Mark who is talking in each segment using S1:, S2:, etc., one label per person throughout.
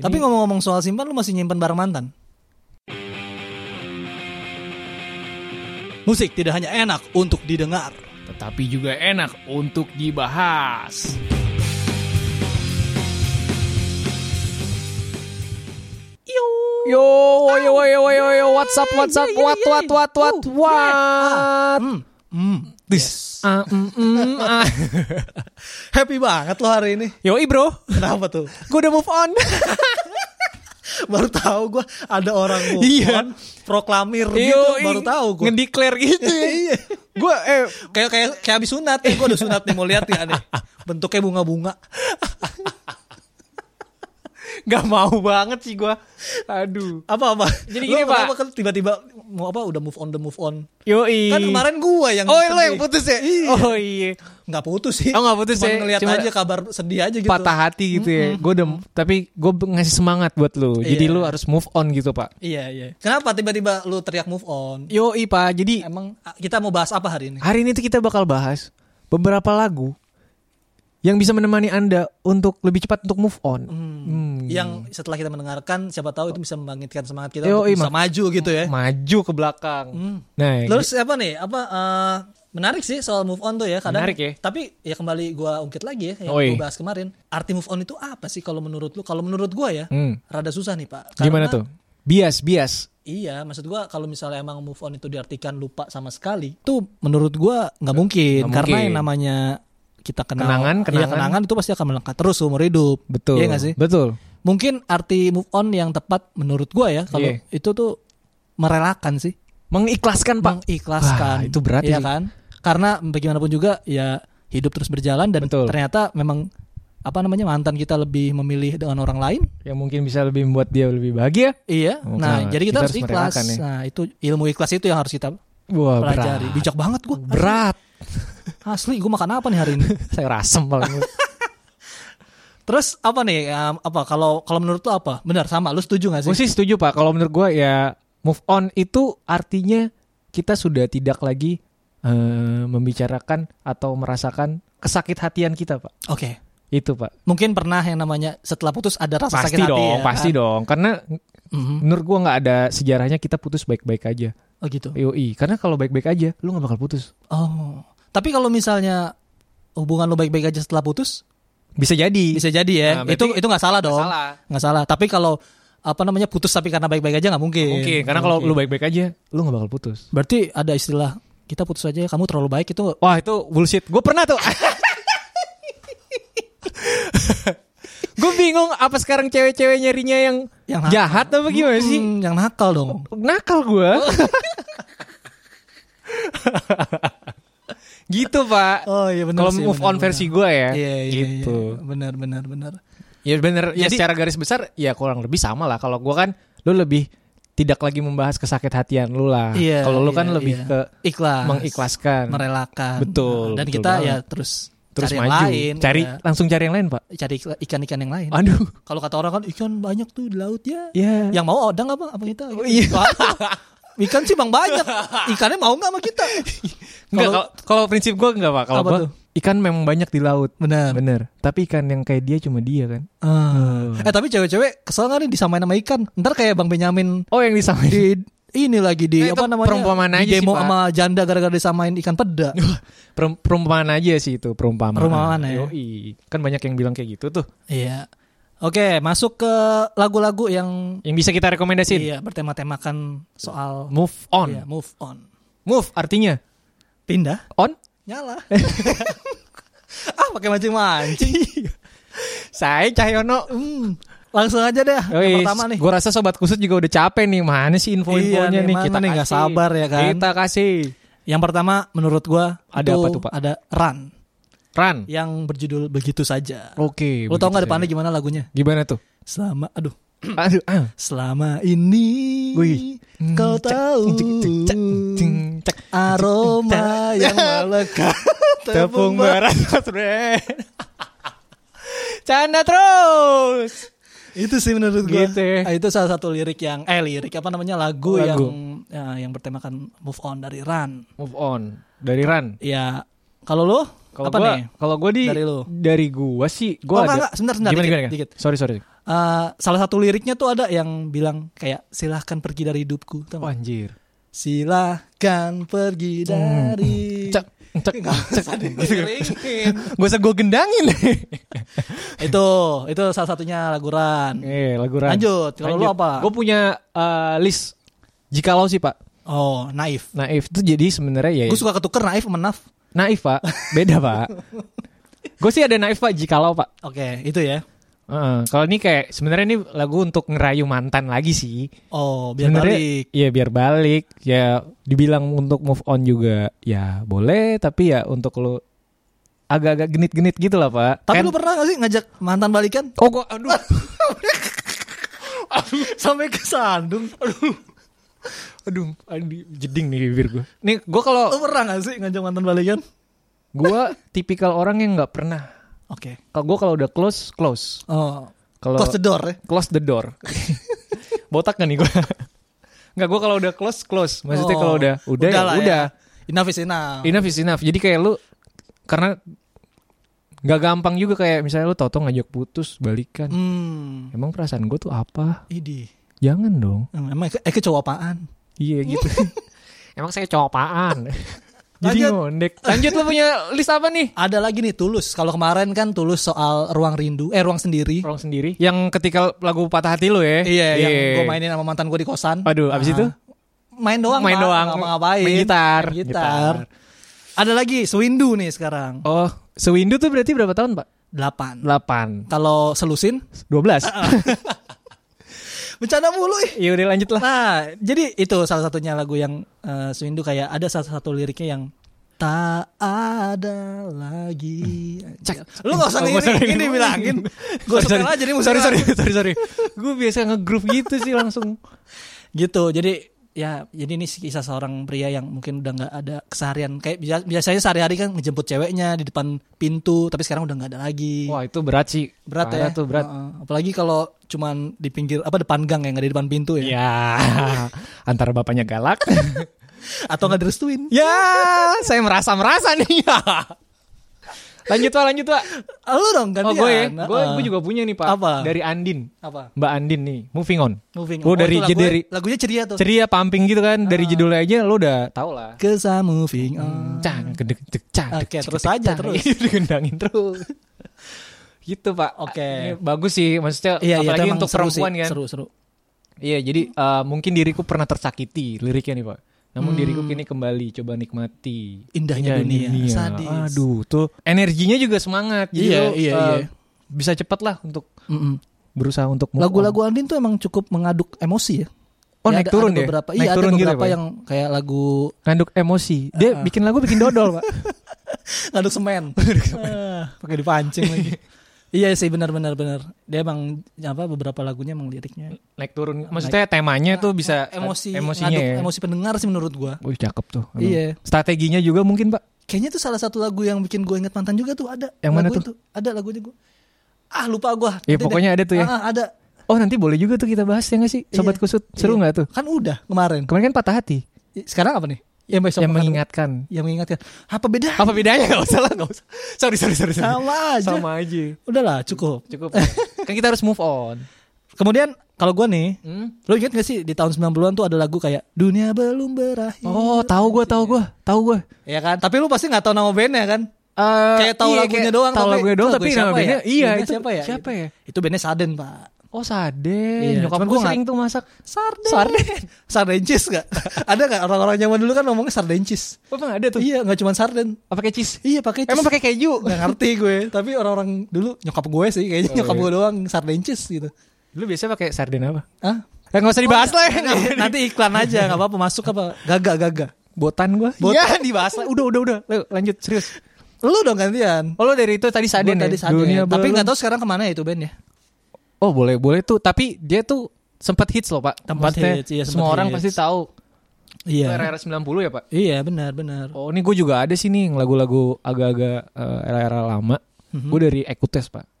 S1: Ini- Tapi ngomong-ngomong soal simpan, lu masih nyimpan barang mantan? Musik tidak hanya enak untuk didengar.
S2: tetapi juga enak untuk dibahas. Yo, yo, yo, yo, yo, yo, what's up, what's up, what, what, what, what, what?
S1: Hmm, hmm, this.
S2: Ah, mm, mm, ah.
S1: Happy banget lo hari ini.
S2: Yoi bro,
S1: Kenapa tuh?
S2: gue udah move on.
S1: Baru tahu gua ada orang move
S2: Iya.
S1: on, proklamir gitu,
S2: Yoi,
S1: baru tahu gua.
S2: Ngedeclare gitu ya.
S1: Iya.
S2: Gue, eh,
S1: Kayak kayak kayak habis sunat, eh, gua udah sunat nih mau lihat ya nih. Bentuknya bunga-bunga.
S2: gak mau banget sih gue. Aduh.
S1: Apa apa?
S2: Jadi gini, Pak.
S1: Kan tiba-tiba mau apa udah move on the move on.
S2: Yoi.
S1: Kan kemarin gua yang
S2: Oh, lo
S1: sedih.
S2: yang putus ya? Oh, iya.
S1: nggak putus sih.
S2: Oh, nggak putus
S1: Cuman
S2: ya.
S1: ngeliat
S2: Cuma-
S1: aja kabar sedih aja gitu.
S2: patah hati gitu ya. Gue udah, tapi gue ngasih semangat buat lu. Jadi
S1: Iya.
S2: lu harus move on gitu pak.
S1: Iya iya. Kenapa tiba-tiba lu teriak move on?
S2: Yoi pak. Jadi
S1: Emang ah, kita mau bahas apa hari ini?
S2: hari ini tuh kita bakal bahas beberapa lagu yang bisa menemani anda untuk lebih cepat untuk move on. Hmm.
S1: Yang setelah kita mendengarkan, siapa tahu itu bisa membangkitkan semangat kita
S2: Yo,
S1: untuk
S2: iya,
S1: bisa
S2: Mak.
S1: maju gitu ya.
S2: Maju ke belakang. Nah,
S1: Terus apa nih? Apa eh, menarik sih soal move on tuh ya? Kadang,
S2: Menarik ya.
S1: Tapi ya kembali gua ungkit lagi ya yang
S2: Oi.
S1: gua bahas kemarin. Arti move on itu apa sih kalau menurut lu? Kalau menurut gua ya,
S2: Hmm.
S1: rada susah nih pak.
S2: gimana
S1: Karena-
S2: tuh? Bias, bias.
S1: Iya, maksud gua kalau misalnya emang move on itu diartikan lupa sama sekali, itu menurut gua nggak mungkin
S2: Nggak
S1: karena
S2: mungkin.
S1: yang namanya kita kenal
S2: Kenangan,
S1: iya,
S2: kenangan.
S1: kenangan itu pasti akan melekat terus seumur hidup.
S2: Betul.
S1: Iya nggak sih?
S2: Betul.
S1: Mungkin arti move on yang tepat menurut gua ya kalau
S2: Iya.
S1: itu tuh merelakan sih,
S2: Mengikhlaskan pak.
S1: mengikhlaskan.
S2: Wah, itu berat
S1: Iya
S2: sih.
S1: kan? Karena bagaimanapun juga ya hidup terus berjalan dan
S2: Betul.
S1: ternyata memang apa namanya mantan kita lebih memilih dengan orang lain
S2: Yang mungkin bisa lebih membuat dia lebih bahagia.
S1: Iya.
S2: Oh,
S1: nah,
S2: kenapa?
S1: jadi kita,
S2: Kita
S1: harus
S2: harus
S1: ikhlas.
S2: merelakan ya.
S1: Nah, itu ilmu ikhlas itu yang harus kita
S2: Wah
S1: pelajari.
S2: berat.
S1: Bijak banget gua.
S2: Berat.
S1: Hmm. Asli, gue makan apa nih hari ini?
S2: Saya rasem paling.
S1: Terus apa nih? em, apa kalau kalau menurut lo apa? Benar sama. Lu setuju gak sih?
S2: Gue sih setuju pak. Kalau menurut gue ya move on itu artinya kita sudah tidak lagi eh, membicarakan atau merasakan kesakit hatian kita pak.
S1: Oke.
S2: Itu pak.
S1: Mungkin pernah yang namanya setelah putus ada rasa
S2: Pasti
S1: sakit hati
S2: dong,
S1: ya.
S2: pasti
S1: kan?
S2: dong. Karena
S1: Mhm.
S2: menurut gue nggak ada sejarahnya kita putus baik-baik aja.
S1: Oh gitu.
S2: Yoi. Karena kalau baik-baik aja, lu nggak bakal putus.
S1: Oh. Tapi kalau misalnya hubungan lo baik-baik aja setelah putus
S2: Bisa jadi.
S1: bisa jadi ya.
S2: Nah, berarti
S1: itu itu nggak salah
S2: Nggak
S1: dong.
S2: salah.
S1: Nggak salah. Tapi kalau apa namanya putus tapi karena baik-baik aja nggak mungkin.
S2: Mungkin. Karena kalau
S1: Mungkin.
S2: lu baik-baik aja, lu nggak bakal putus.
S1: berarti ada istilah kita putus aja ya kamu terlalu baik itu
S2: Wah itu bullshit. Gue pernah tuh. gue bingung apa sekarang cewek-cewek nyarinya yang,
S1: Yang nakal.
S2: jahat apa gimana sih? Oh.
S1: Hmm, yang nakal dong.
S2: Nakal gue. gitu pak.
S1: Oh iya benar
S2: Kalau
S1: sih,
S2: move
S1: benar,
S2: on
S1: benar.
S2: versi gue ya,
S1: Iya, iya,
S2: gitu.
S1: iya. Benar benar benar.
S2: Ya bener. ya
S1: Jadi-
S2: secara garis besar ya kurang lebih sama lah. Kalau gue kan lu lebih tidak lagi membahas kesakit hatian lu lah.
S1: Iya,
S2: Kalau lu
S1: iya,
S2: kan lebih
S1: iya.
S2: ke
S1: ikhlas,
S2: mengikhlaskan,
S1: merelakan.
S2: Betul,
S1: Nah, Dan
S2: betul
S1: kita ya
S2: banget.
S1: terus
S2: terus
S1: cari
S2: maju,
S1: yang lain, Iya.
S2: cari
S1: ya.
S2: langsung cari yang lain pak.
S1: cari ikla- ikan-ikan yang lain.
S2: Aduh.
S1: Kalau kata orang kan ikan banyak tuh di laut ya.
S2: Iya. Oh,
S1: Yang mau odang apa apa kita? Gitu aja. Ikan sih bang banyak. Ikannya mau nggak sama kita?
S2: Enggak,
S1: Kalau-
S2: kalau kalau prinsip gua enggak Pak. Kalau
S1: Apa
S2: gua
S1: tuh? Iya.
S2: ikan memang banyak di laut.
S1: Benar.
S2: Bener. Tapi ikan yang kayak dia cuma dia kan.
S1: Eh tapi cewek-cewek kesel nggak nih disamain sama ikan? Ntar kayak bang Benyamin
S2: Oh, yang disamain.
S1: di ini lagi di
S2: Nah, itu
S1: apa namanya?
S2: perumpamaan
S1: di
S2: aja sih,
S1: demo
S2: Pak.
S1: sama janda gara-gara disamain ikan peda.
S2: Perum- perumpamaan aja sih itu, perumpamaan.
S1: Perumpamaan ya.
S2: Yoi. Kan banyak yang bilang kayak gitu tuh.
S1: Iya. Oke, masuk ke lagu-lagu yang
S2: Yang bisa kita rekomendasiin.
S1: iya bertema-temakan soal
S2: Move on.
S1: iya, move on.
S2: Move artinya
S1: Pindah,
S2: on.
S1: nyala. ah, pakai mancing-mancing.
S2: Saya Cahyono.
S1: Hmm, Langsung aja deh yang
S2: Yoi,
S1: pertama nih.
S2: Gua rasa sobat kusut juga udah capek nih. Mana sih
S1: Iya nih,
S2: info-infonya nih,
S1: mana
S2: kita
S1: nih, nggak sabar ya kan?
S2: Kita kasih.
S1: Yang pertama menurut gua
S2: Ada
S1: itu
S2: apa tuh, Pak?
S1: Ada Run
S2: Run.
S1: yang berjudul Begitu Saja. Iya.
S2: Oke.
S1: Lu tau nggak
S2: Oh, iya, begitu saya.
S1: depannya gimana lagunya?
S2: Gimana tuh?
S1: Selama aduh
S2: Aduh. ah.
S1: Selama ini
S2: Wih. Hmm,
S1: kau tahu aroma yang melekat
S2: Tepung barat Red. Canda terus.
S1: itu sih menurut gue
S2: Gitu ya.
S1: itu salah satu lirik yang eh lirik apa namanya lagu,
S2: Lagu.
S1: yang ya, yang bertemakan move on dari Run
S2: Move on dari Ran.
S1: ya kalau lo
S2: Kalau
S1: apa
S2: gua,
S1: nih
S2: kalau gua di
S1: Dari lu.
S2: dari gua sih
S1: Oh, enggak,
S2: gua ada.
S1: enggak, sebentar, sebentar,
S2: Gimana,
S1: dikit,
S2: gimana, gimana?
S1: dikit.
S2: Sorry sorry.
S1: eh, salah satu liriknya tuh ada yang bilang kayak silahkan pergi dari hidupku. Tau nggak?
S2: anjir.
S1: Silahkan
S2: Hmm.
S1: pergi dari.
S2: Cek, cek,
S1: Nggak
S2: cek.
S1: usah diliringin.
S2: Gue usah gue gendangin.
S1: itu itu salah satunya lagu Ran.
S2: eh, lagu Ran.
S1: Lanjut, kalau lu apa?
S2: Gue punya eh, list jikalau sih Pak.
S1: Oh, Naif.
S2: Naif itu jadi sebenarnya ya
S1: Gue suka ketuker Naif sama Naf.
S2: naif Pak. Beda Pak. gue sih ada naif Pak jikalau Pak.
S1: Oke, itu ya.
S2: Heeh, kalau ini kayak sebenarnya ini lagu untuk ngerayu mantan lagi sih.
S1: Oh, biar
S2: Sebenarnya,
S1: balik.
S2: Iya biar balik. Ya dibilang untuk move on juga ya boleh tapi ya untuk lo agak-agak genit-genit gitu lah pak.
S1: Tapi
S2: Kan-
S1: lu pernah gak sih ngajak mantan balikan?
S2: Oh gua- aduh.
S1: Sampai kesandung. Aduh.
S2: aduh, aduh, jeding nih bibir gue. Nih gue kalau
S1: Lu pernah gak sih ngajak mantan balikan?
S2: gue tipikal orang yang nggak pernah.
S1: Oke.
S2: Kalau gue kalau udah close close.
S1: Oh,
S2: Kalau
S1: close the door ya.
S2: close the door. Botak kan nih gue. Enggak gue kalau udah close close. Maksudnya
S1: Oh,
S2: kalau udah udah ya
S1: lah
S2: udah.
S1: Enough is enough.
S2: enough is enough. Jadi kayak lu karena nggak gampang juga kayak misalnya lu toto ngajak putus balikan.
S1: Hmm.
S2: Emang perasaan gue tuh apa?
S1: Idi.
S2: Jangan dong.
S1: Em- Emang eh ke cowok apaan?
S2: Iya
S1: Hmm.
S2: gitu. Emang saya cowopaan. Jadi
S1: Lanjut.
S2: ngondek. Lanjut lu punya list apa nih?
S1: Ada lagi nih Tulus. Kalau kemarin kan Tulus soal ruang rindu, eh ruang sendiri.
S2: Orang sendiri. Yang ketika lagu patah hati lu ya.
S1: Iya, yang gue mainin sama mantan gue di kosan.
S2: Aduh, abis
S1: Ah.
S2: itu?
S1: main doang,
S2: Main
S1: Pak.
S2: doang.
S1: Nggak ngapain?
S2: Main gitar.
S1: Main gitar.
S2: Gitar.
S1: Ada lagi Swindu nih sekarang.
S2: Oh, sewindu tuh berarti berapa tahun, Pak?
S1: Delapan. Ah,
S2: 8.
S1: Kalau selusin,
S2: 12.
S1: bercanda mulu ih.
S2: Iya udah lanjut lah.
S1: Nah, jadi itu salah satunya lagu yang eh, Swindu kayak ada salah satu liriknya yang tak ada lagi. Cek. Lu gak usah
S2: Oh, gua
S1: ngiri,
S2: sorry.
S1: ini bilangin. Gue
S2: Sorry,
S1: setel
S2: sorry.
S1: aja nih musik.
S2: Sorry, sorry, sorry, sorry. Gue biasa nge-groove gitu sih langsung.
S1: Gitu. Jadi ya jadi ini kisah seorang pria yang mungkin udah nggak ada keseharian kayak biasa- biasanya sehari-hari kan ngejemput ceweknya di depan pintu tapi sekarang udah nggak ada lagi
S2: Wah itu berat sih.
S1: berat
S2: Parah
S1: ya
S2: tuh berat.
S1: Heeh. apalagi kalau cuman di pinggir apa depan gang ya nggak di depan pintu ya
S2: Ya antara bapaknya galak.
S1: atau nggak direstuin
S2: ya saya merasa merasa nih. lanjut pak, lanjut pak.
S1: Ah, lu dong gantian
S2: Oh gue ya,
S1: Heeh.
S2: gue gue juga punya nih pak.
S1: Apa?
S2: Dari Andin,
S1: apa
S2: Mbak Andin nih. Moving on.
S1: moving on. Oh,
S2: Gua dari
S1: itu Ah. lagu-
S2: dari-
S1: lagunya ceria tuh
S2: Ceria pumping gitu kan dari judulnya aja lo udah tau lah.
S1: Kesa moving on
S2: Cang, gedeg, deg, cang,
S1: Oke,
S2: deg, cik,
S1: terus
S2: deg,
S1: aja,
S2: cang. Iya,
S1: terus.
S2: Digendangin terus. gitu pak.
S1: Oke.
S2: Ini bagus sih, maksudnya
S1: Iya, iya, itu
S2: apalagi
S1: emang
S2: untuk
S1: seru sih,
S2: perempuan kan.
S1: Seru, seru.
S2: Iya, jadi eh, mungkin diriku pernah tersakiti liriknya nih pak. Namun diriku kini kembali, coba nikmati
S1: Indahnya Hmm. dunia. Sadis.
S2: Iya, Aduh, tuh energinya juga semangat. Jadi
S1: Iya,
S2: lo,
S1: iya,
S2: eh,
S1: iya.
S2: Bisa cepat lah untuk
S1: Mm-mm.
S2: berusaha untuk move on.
S1: Lagu-lagu Andin tuh emang cukup mengaduk emosi ya.
S2: Oh,
S1: Ya,
S2: naik
S1: ada-
S2: turun
S1: ada
S2: ya?
S1: beberapa,
S2: Naik
S1: Iya,
S2: turun
S1: ada
S2: gitu ya,
S1: beberapa
S2: Pak?
S1: yang Ah, kayak lagu
S2: nganduk emosi. Dia bikin lagu bikin dodol, Pak.
S1: ngaduk semen. Ah, Pakai dipancing lagi. Iya sih benar-benar benar. Dia emang apa beberapa lagunya emang liriknya
S2: Naik turun. Maksudnya temanya tuh bisa
S1: Ah, emosi
S2: emosinya
S1: ngaduk
S2: ya.
S1: emosi pendengar sih menurut gua.
S2: Wih, cakep tuh. Emang.
S1: Iya.
S2: Strateginya juga mungkin, Pak.
S1: Kayaknya itu salah satu lagu yang bikin gue inget mantan juga tuh ada.
S2: Yang mana
S1: Lagu
S2: tuh?
S1: Itu. Ada lagunya gue. Ah lupa gue.
S2: Iya, pokoknya ada tuh ya.
S1: Ah, ada.
S2: Oh, nanti boleh juga tuh kita bahas ya nggak sih,
S1: Iya.
S2: sobat kusut? Seru
S1: Iya.
S2: nggak tuh?
S1: Kan udah kemarin.
S2: Kemarin kan patah hati
S1: Sekarang apa nih? Yang besok
S2: yang
S1: akan-
S2: mengingatkan.
S1: Yang mengingatkan. Apa beda?
S2: Apa bedanya? Gak usah lah, gak usah. Sorry, sorry, sorry. sorry.
S1: Sama aja.
S2: Sama aja.
S1: Udahlah cukup.
S2: Cukup. kan kita harus move on.
S1: Kemudian kalau gue nih,
S2: Hmm?
S1: lo inget gak sih di tahun 90-an tuh ada lagu kayak Dunia Belum Berakhir.
S2: Oh, tahu gua, tahu gua, tahu gua.
S1: Ya kan? Tapi lu pasti nggak tahu nama bandnya kan?
S2: Eh,
S1: Kayak tahu
S2: iya,
S1: lagunya
S2: kayak
S1: doang,
S2: tahu
S1: tapi
S2: lagunya doang
S1: itu
S2: tapi
S1: lagunya
S2: nama
S1: siapa ya?
S2: bandnya iya
S1: Bandnya
S2: itu
S1: siapa ya?
S2: siapa ya
S1: Itu bandnya Sudden pak.
S2: oh saden
S1: Iya,
S2: nyokap
S1: cuman
S2: gue
S1: gua
S2: sering tuh masak
S1: Sarden.
S2: Sarden.
S1: Sarden cheese gak? ada gak orang-orang zaman dulu kan ngomongnya sarden cheese?
S2: oh, emang ada tuh
S1: Iya, gak cuma sarden.
S2: apa kayak cheese
S1: Iya, pakai cheese.
S2: emang pakai keju
S1: Nggak ngerti gue, tapi orang-orang dulu nyokap gue sih kayaknya
S2: Oh,
S1: nyokap
S2: iya.
S1: gue doang sarden cheese gitu.
S2: lu biasanya pakai sarden apa
S1: Hah?
S2: Eh, nggak usah dibahas lah ya.
S1: Nanti- Nanti iklan aja nggak apa-apa masuk apa gaga gaga.
S2: botan gue
S1: Botan.
S2: ya dibahas lah udah udah udah Ayo, lanjut serius
S1: Lu dong gantian.
S2: oh lo dari itu tadi
S1: Gua
S2: saden ya?
S1: tadi Sarden.
S2: Dunia
S1: tapi
S2: belum-
S1: nggak tahu sekarang kemana ya itu band ya.
S2: oh boleh boleh tuh tapi dia tuh sempat hits loh pak
S1: Tempat
S2: Maksudnya,
S1: hits, iya,
S2: semua
S1: sempat
S2: orang
S1: hits.
S2: pasti tahu
S1: Iya.
S2: Itu era-era 90 ya pak
S1: Iya benar benar.
S2: oh ini gue juga ada sih nih lagu-lagu agak-agak eh, era-era lama gue dari ekutes pak
S1: Mhm.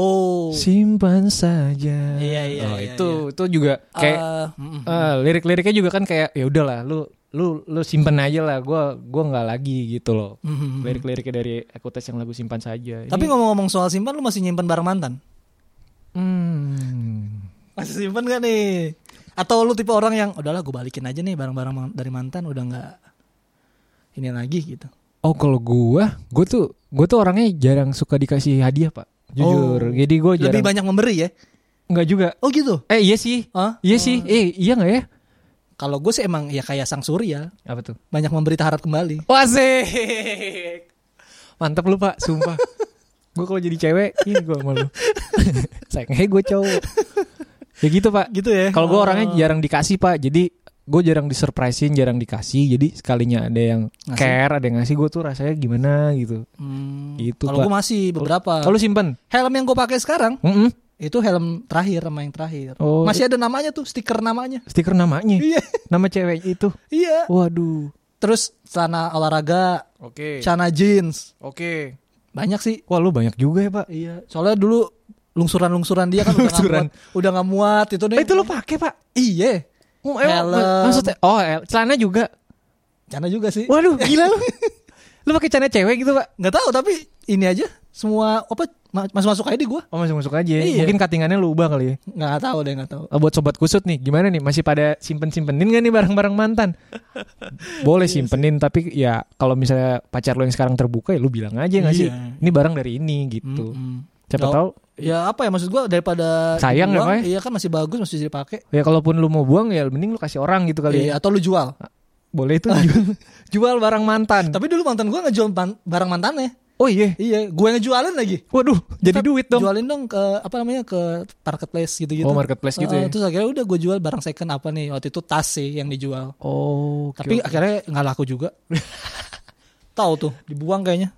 S1: Oh.
S2: simpan saja
S1: Iya, iya,
S2: Oh,
S1: iya,
S2: itu itu juga kayak
S1: Eh, mm-mm.
S2: eh, lirik-liriknya juga kan kayak ya udahlah lu lu lu simpen aja lah gua gua nggak lagi gitu loh
S1: Mhm.
S2: lirik-liriknya dari Ekutes yang lagu simpan saja
S1: Tapi
S2: Ini-
S1: ngomong-ngomong soal simpan, lu masih nyimpan barang mantan?
S2: Hmm.
S1: Masih simpen gak nih? Atau lu tipe orang yang udahlah gue balikin aja nih barang-barang man- dari mantan udah nggak ini lagi gitu.
S2: Oh kalau gua, gua tuh gua tuh orangnya jarang suka dikasih hadiah pak. Jujur,
S1: Oh.
S2: jadi gua
S1: Lebih
S2: jarang.
S1: banyak memberi ya.
S2: Enggak juga.
S1: Oh gitu.
S2: Eh iya sih,
S1: Hah?
S2: iya sih. Eh iya nggak ya?
S1: Kalau gue sih emang ya kayak sang surya,
S2: Apa tuh?
S1: banyak memberi tak harap kembali.
S2: Wasik. Mantap lu pak, sumpah. gue kalau jadi cewek, ini gue malu. Sayangnya gue cowok. Ya gitu pak.
S1: Gitu ya.
S2: Kalau gue
S1: Oh.
S2: orangnya jarang dikasih pak, jadi gue jarang disurprisein, jarang dikasih. Jadi sekalinya ada yang
S1: Ngasih.
S2: care, ada yang ngasih, gue tuh rasanya gimana gitu.
S1: Hmm,
S2: Gitu,
S1: Kalau
S2: Pak.
S1: gue masih beberapa.
S2: Kalau simpen?
S1: helm yang gue pakai sekarang
S2: Mm-mm.
S1: itu helm terakhir sama yang terakhir.
S2: Oh.
S1: Masih ada namanya tuh, stiker namanya.
S2: Stiker namanya,
S1: Iya,
S2: nama cewek itu.
S1: iya.
S2: Waduh.
S1: Terus celana olahraga,
S2: Oke.
S1: celana jeans.
S2: Oke.
S1: Banyak sih.
S2: Wah lu banyak juga ya pak.
S1: Iya. Soalnya dulu lungsuran-lungsuran dia kan udah nggak
S2: Lungsuran.
S1: muat, udah nggak muat itu deh.
S2: Eh, itu lu pakai pak?
S1: Iya.
S2: Oh, emang-
S1: Helm.
S2: Maksudnya? Oh, el- celana juga.
S1: Cana juga sih.
S2: Waduh, gila lu. lu pakai celana cewek gitu, Pak?
S1: Nggak tahu tapi ini aja semua apa masuk-masuk aja di gua.
S2: Oh, masuk masuk aja. ya.
S1: Iya.
S2: Mungkin cuttingannya lu ubah kali ya.
S1: Nggak tahu deh, nggak tahu.
S2: Eh, Buat sobat kusut nih, gimana nih? Masih pada simpen-simpenin gak nih barang-barang mantan? Boleh
S1: Iya
S2: simpenin, tapi ya kalau misalnya pacar lu yang sekarang terbuka ya lu bilang aja gak sih?
S1: Iya. Hmm.
S2: Ini barang dari ini gitu.
S1: Mm-mm.
S2: Siapa
S1: Nggak-
S2: tahu
S1: Ya apa ya maksud gua daripada
S2: Sayang ya,
S1: dibuang,
S2: Pak, ya?
S1: Iya kan masih bagus masih dipakai.
S2: ya kalaupun lu mau buang ya mending lu kasih orang gitu kali ya.
S1: Iya, atau lu jual.
S2: Boleh itu jual, jual barang mantan.
S1: Tapi dulu mantan gua ngejual ban- barang mantannya.
S2: Oh iya.
S1: Iya, gue ngejualin lagi.
S2: Waduh, jadi
S1: Ustaz,
S2: duit dong.
S1: Jualin dong ke apa namanya ke marketplace gitu-gitu.
S2: Oh, marketplace gitu
S1: Heeh,
S2: ya.
S1: Ah, Terus akhirnya udah gue jual barang second apa nih waktu itu tas sih yang dijual.
S2: Oh, oke,
S1: Tapi
S2: oke.
S1: akhirnya nggak laku juga. Tahu tuh, dibuang kayaknya.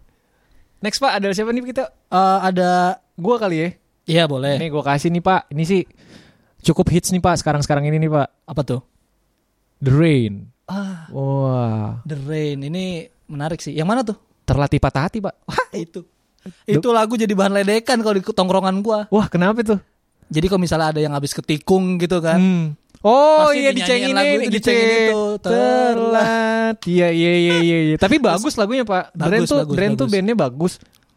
S2: next Pak ada siapa nih kita?
S1: Eh, ada
S2: Gua kali ya.
S1: iya boleh.
S2: Ini gue kasih nih pak, ini sih cukup hits nih pak sekarang-sekarang ini nih pak.
S1: Apa tuh?
S2: The Rain.
S1: Ah,
S2: Wah,
S1: The Rain ini menarik sih. Yang mana tuh?
S2: terlatih patah hati pak.
S1: Wah, itu. Itu lagu jadi bahan ledekan kalau di tongkrongan gua.
S2: Wah kenapa tuh?
S1: Jadi kalau misalnya ada yang habis ketikung gitu kan.
S2: Hmm. Oh
S1: Pasti
S2: iya
S1: dinyanyiin
S2: dicengin
S1: lagu itu,
S2: ini, ya.
S1: dicengin itu.
S2: Terlatih. Iya iya iya iya. iya. Tapi bagus lagunya pak. The Rain
S1: Bagus,
S2: tuh,
S1: bagus,
S2: The Rain tuh
S1: bagus.
S2: bandnya bagus.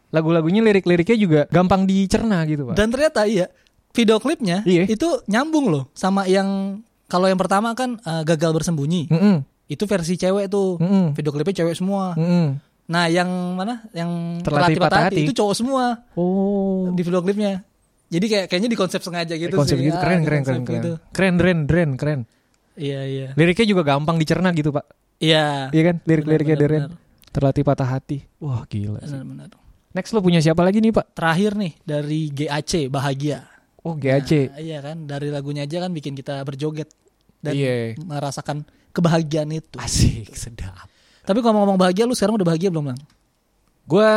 S2: Lagu-lagunya lirik-liriknya juga gampang dicerna gitu pak.
S1: Dan ternyata iya video klipnya
S2: Iya.
S1: itu nyambung loh sama yang kalau yang pertama kan eh, gagal bersembunyi
S2: Mm-mm,
S1: itu versi cewek tuh
S2: mm-mm,
S1: video klipnya cewek semua.
S2: mm-mm.
S1: Nah yang mana yang terlatih
S2: Terlatih
S1: patah
S2: patah
S1: hati
S2: hati.
S1: itu cowok semua
S2: Oh.
S1: di video klipnya. Jadi kayak kayaknya di konsep sengaja gitu
S2: konsep
S1: sih.
S2: gitu
S1: Ah,
S2: keren
S1: di
S2: keren
S1: konsep
S2: keren keren.
S1: gitu.
S2: Keren keren keren keren.
S1: Iya iya.
S2: Liriknya juga gampang dicerna gitu pak.
S1: Iya.
S2: Iya kan? Lirik-liriknya
S1: Benar,
S2: The Rain.
S1: benar,
S2: Terlatih patah hati. Wah gila. sih.
S1: benar, benar.
S2: Next lo punya siapa lagi nih pak?
S1: Terakhir nih dari GAC Bahagia.
S2: Oh GAC.
S1: Nah, iya kan dari lagunya aja kan bikin kita berjoget dan
S2: Iya.
S1: merasakan kebahagiaan itu.
S2: Asik sedap.
S1: Tapi kalau ngomong bahagia lu sekarang udah bahagia belum, Bang?
S2: Gue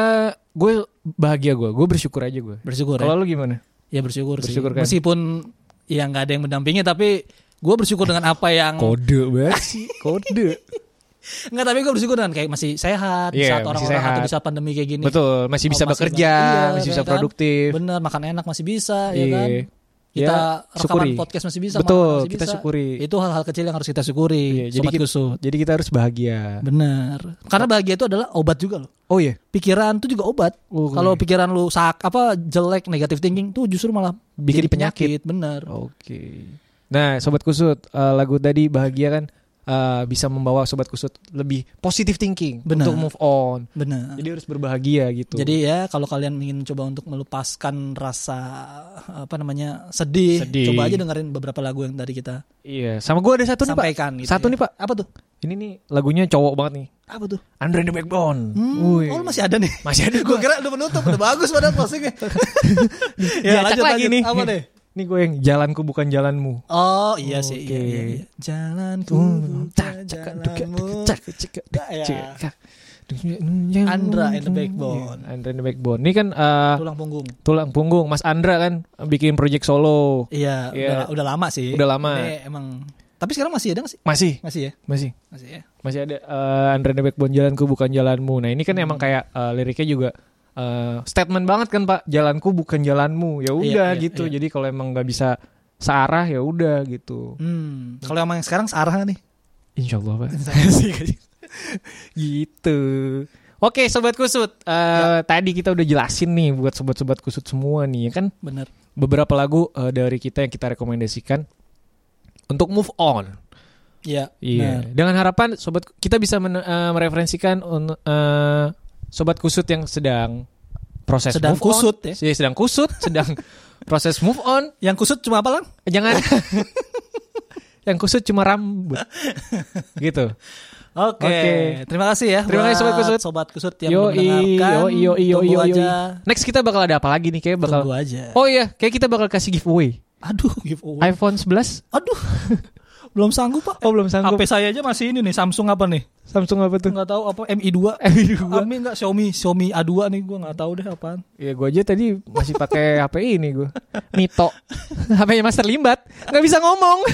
S2: gue bahagia gue. Gue bersyukur aja gue.
S1: Bersyukur
S2: Kalau
S1: ya.
S2: lo gimana?
S1: Ya bersyukur, sih.
S2: Bersyukur kan?
S1: Meskipun ya nggak ada yang mendampingi tapi gue bersyukur dengan apa yang
S2: Kode banget sih. Kode.
S1: Enggak tapi gue bersyukur kan kayak masih sehat di saat
S2: Iya, masih
S1: orang-orang atau
S2: sehat.
S1: di saat pandemi kayak gini.
S2: Betul. Masih bisa
S1: Oh, masih
S2: bekerja.
S1: ba- iya,
S2: masih bisa
S1: ya kan?
S2: produktif.
S1: Bener makan enak masih bisa ya
S2: Iya.
S1: kan. Kita
S2: Ya,
S1: rekaman
S2: syukuri.
S1: podcast masih bisa.
S2: Betul,
S1: makan masih
S2: kita
S1: bisa.
S2: syukuri.
S1: Itu hal-hal kecil yang harus kita syukuri.
S2: Iya, jadi
S1: sobat
S2: kita-
S1: kusut.
S2: Jadi kita harus bahagia.
S1: Bener. Karena bahagia itu adalah obat juga loh.
S2: Oh iya.
S1: Pikiran itu juga obat.
S2: Oh,
S1: Kalau pikiran lu sak apa jelek negatif thinking tuh justru malah
S2: Bikin
S1: jadi
S2: penyakit.
S1: Bener.
S2: Oke. Nah, sobat kusut, eh, lagu tadi bahagia kan eh, bisa membawa sobat kusut lebih positive thinking
S1: Benar.
S2: untuk move on.
S1: Bener.
S2: Jadi harus berbahagia gitu.
S1: Jadi ya kalau kalian ingin coba untuk melepaskan rasa apa namanya sedih,
S2: Sedih.
S1: coba aja dengerin beberapa lagu yang tadi kita
S2: iya, sama gue ada satu nih, Pak.
S1: sampaikan. gitu
S2: Satu
S1: ya.
S2: nih, Pak.
S1: Apa tuh?
S2: Ini nih lagunya cowok banget nih.
S1: Apa tuh?
S2: Andre and the Backbone.
S1: Hmm,
S2: Wih.
S1: oh lu masih ada nih.
S2: Masih ada
S1: Gue
S2: gue.
S1: kira udah menutup, udah bagus padahal closingnya. Ya,
S2: Diacak lagi nih.
S1: Apa deh?
S2: Nih gue yang jalanku bukan jalanmu.
S1: Oh iya sih.
S2: Oke.
S1: Iya, iya, iya. Hmm, Jalanku bukan
S2: Cak, cak, cak,
S1: jalanmu.
S2: cak, cak,
S1: Tak ya.
S2: cak. ya,
S1: Andra and the Backbone.
S2: Iya, Andra and the Backbone. Ini kan eh,
S1: Tulang punggung.
S2: tulang punggung Mas Andra kan bikin project solo.
S1: Iya, udah,
S2: Iya.
S1: udah lama sih.
S2: Udah lama.
S1: Ini emang. Tapi sekarang masih ada gak sih?
S2: Masih,
S1: Masih ya?
S2: masih.
S1: Masih ya.
S2: Masih ada eh, Andra and the Backbone jalanku bukan jalanmu. Nah, ini kan
S1: Hmm.
S2: emang kayak eh, liriknya juga eh, statement banget kan, Pak. Jalanku bukan jalanmu. Ya
S1: Iya,
S2: udah
S1: iya,
S2: gitu.
S1: iya.
S2: Jadi kalau emang nggak bisa searah ya udah gitu.
S1: Hmm, kalau emang yang sekarang searah gak nih?
S2: Insyaallah, Pak. gitu. Oke, sobat kusut. Eh, tadi kita udah jelasin nih buat sobat-sobat kusut semua nih, ya kan?
S1: Bener.
S2: beberapa lagu eh, dari kita yang kita rekomendasikan untuk move on.
S1: Iya.
S2: Iya. Dengan harapan sobat kita bisa men- eh, mereferensikan un- eh, sobat kusut yang sedang proses
S1: Sedang
S2: move on.
S1: kusut ya.
S2: Iya, sedang kusut, sedang proses move on.
S1: Yang kusut cuma apa lang?
S2: Jangan yang kusut cuma rambut. gitu.
S1: Oke.
S2: Oke.
S1: Terima kasih ya.
S2: Terima kasih, Sobat
S1: buat
S2: Kusut.
S1: Sobat kusut yang
S2: Yo
S1: mendengarkan.
S2: yo yo yo
S1: Tunggu
S2: yo
S1: aja.
S2: Next kita bakal ada apa lagi nih kayak bakal
S1: Tunggu aja.
S2: Oh iya, kayak kita bakal kasih giveaway.
S1: Aduh, giveaway.
S2: iPhone 11.
S1: Aduh. belum sanggup, Pak.
S2: Oh, belum sanggup.
S1: HP saya aja masih ini nih, Samsung apa nih?
S2: Samsung apa tuh?
S1: Enggak tahu apa MI2.
S2: Eh, gua.
S1: Ami enggak Xiaomi, Xiaomi A2 nih gua enggak tahu deh apaan.
S2: Ya gue aja tadi masih pakai HP ini gue. Mito. HP-nya Master Limbat. Nggak bisa ngomong.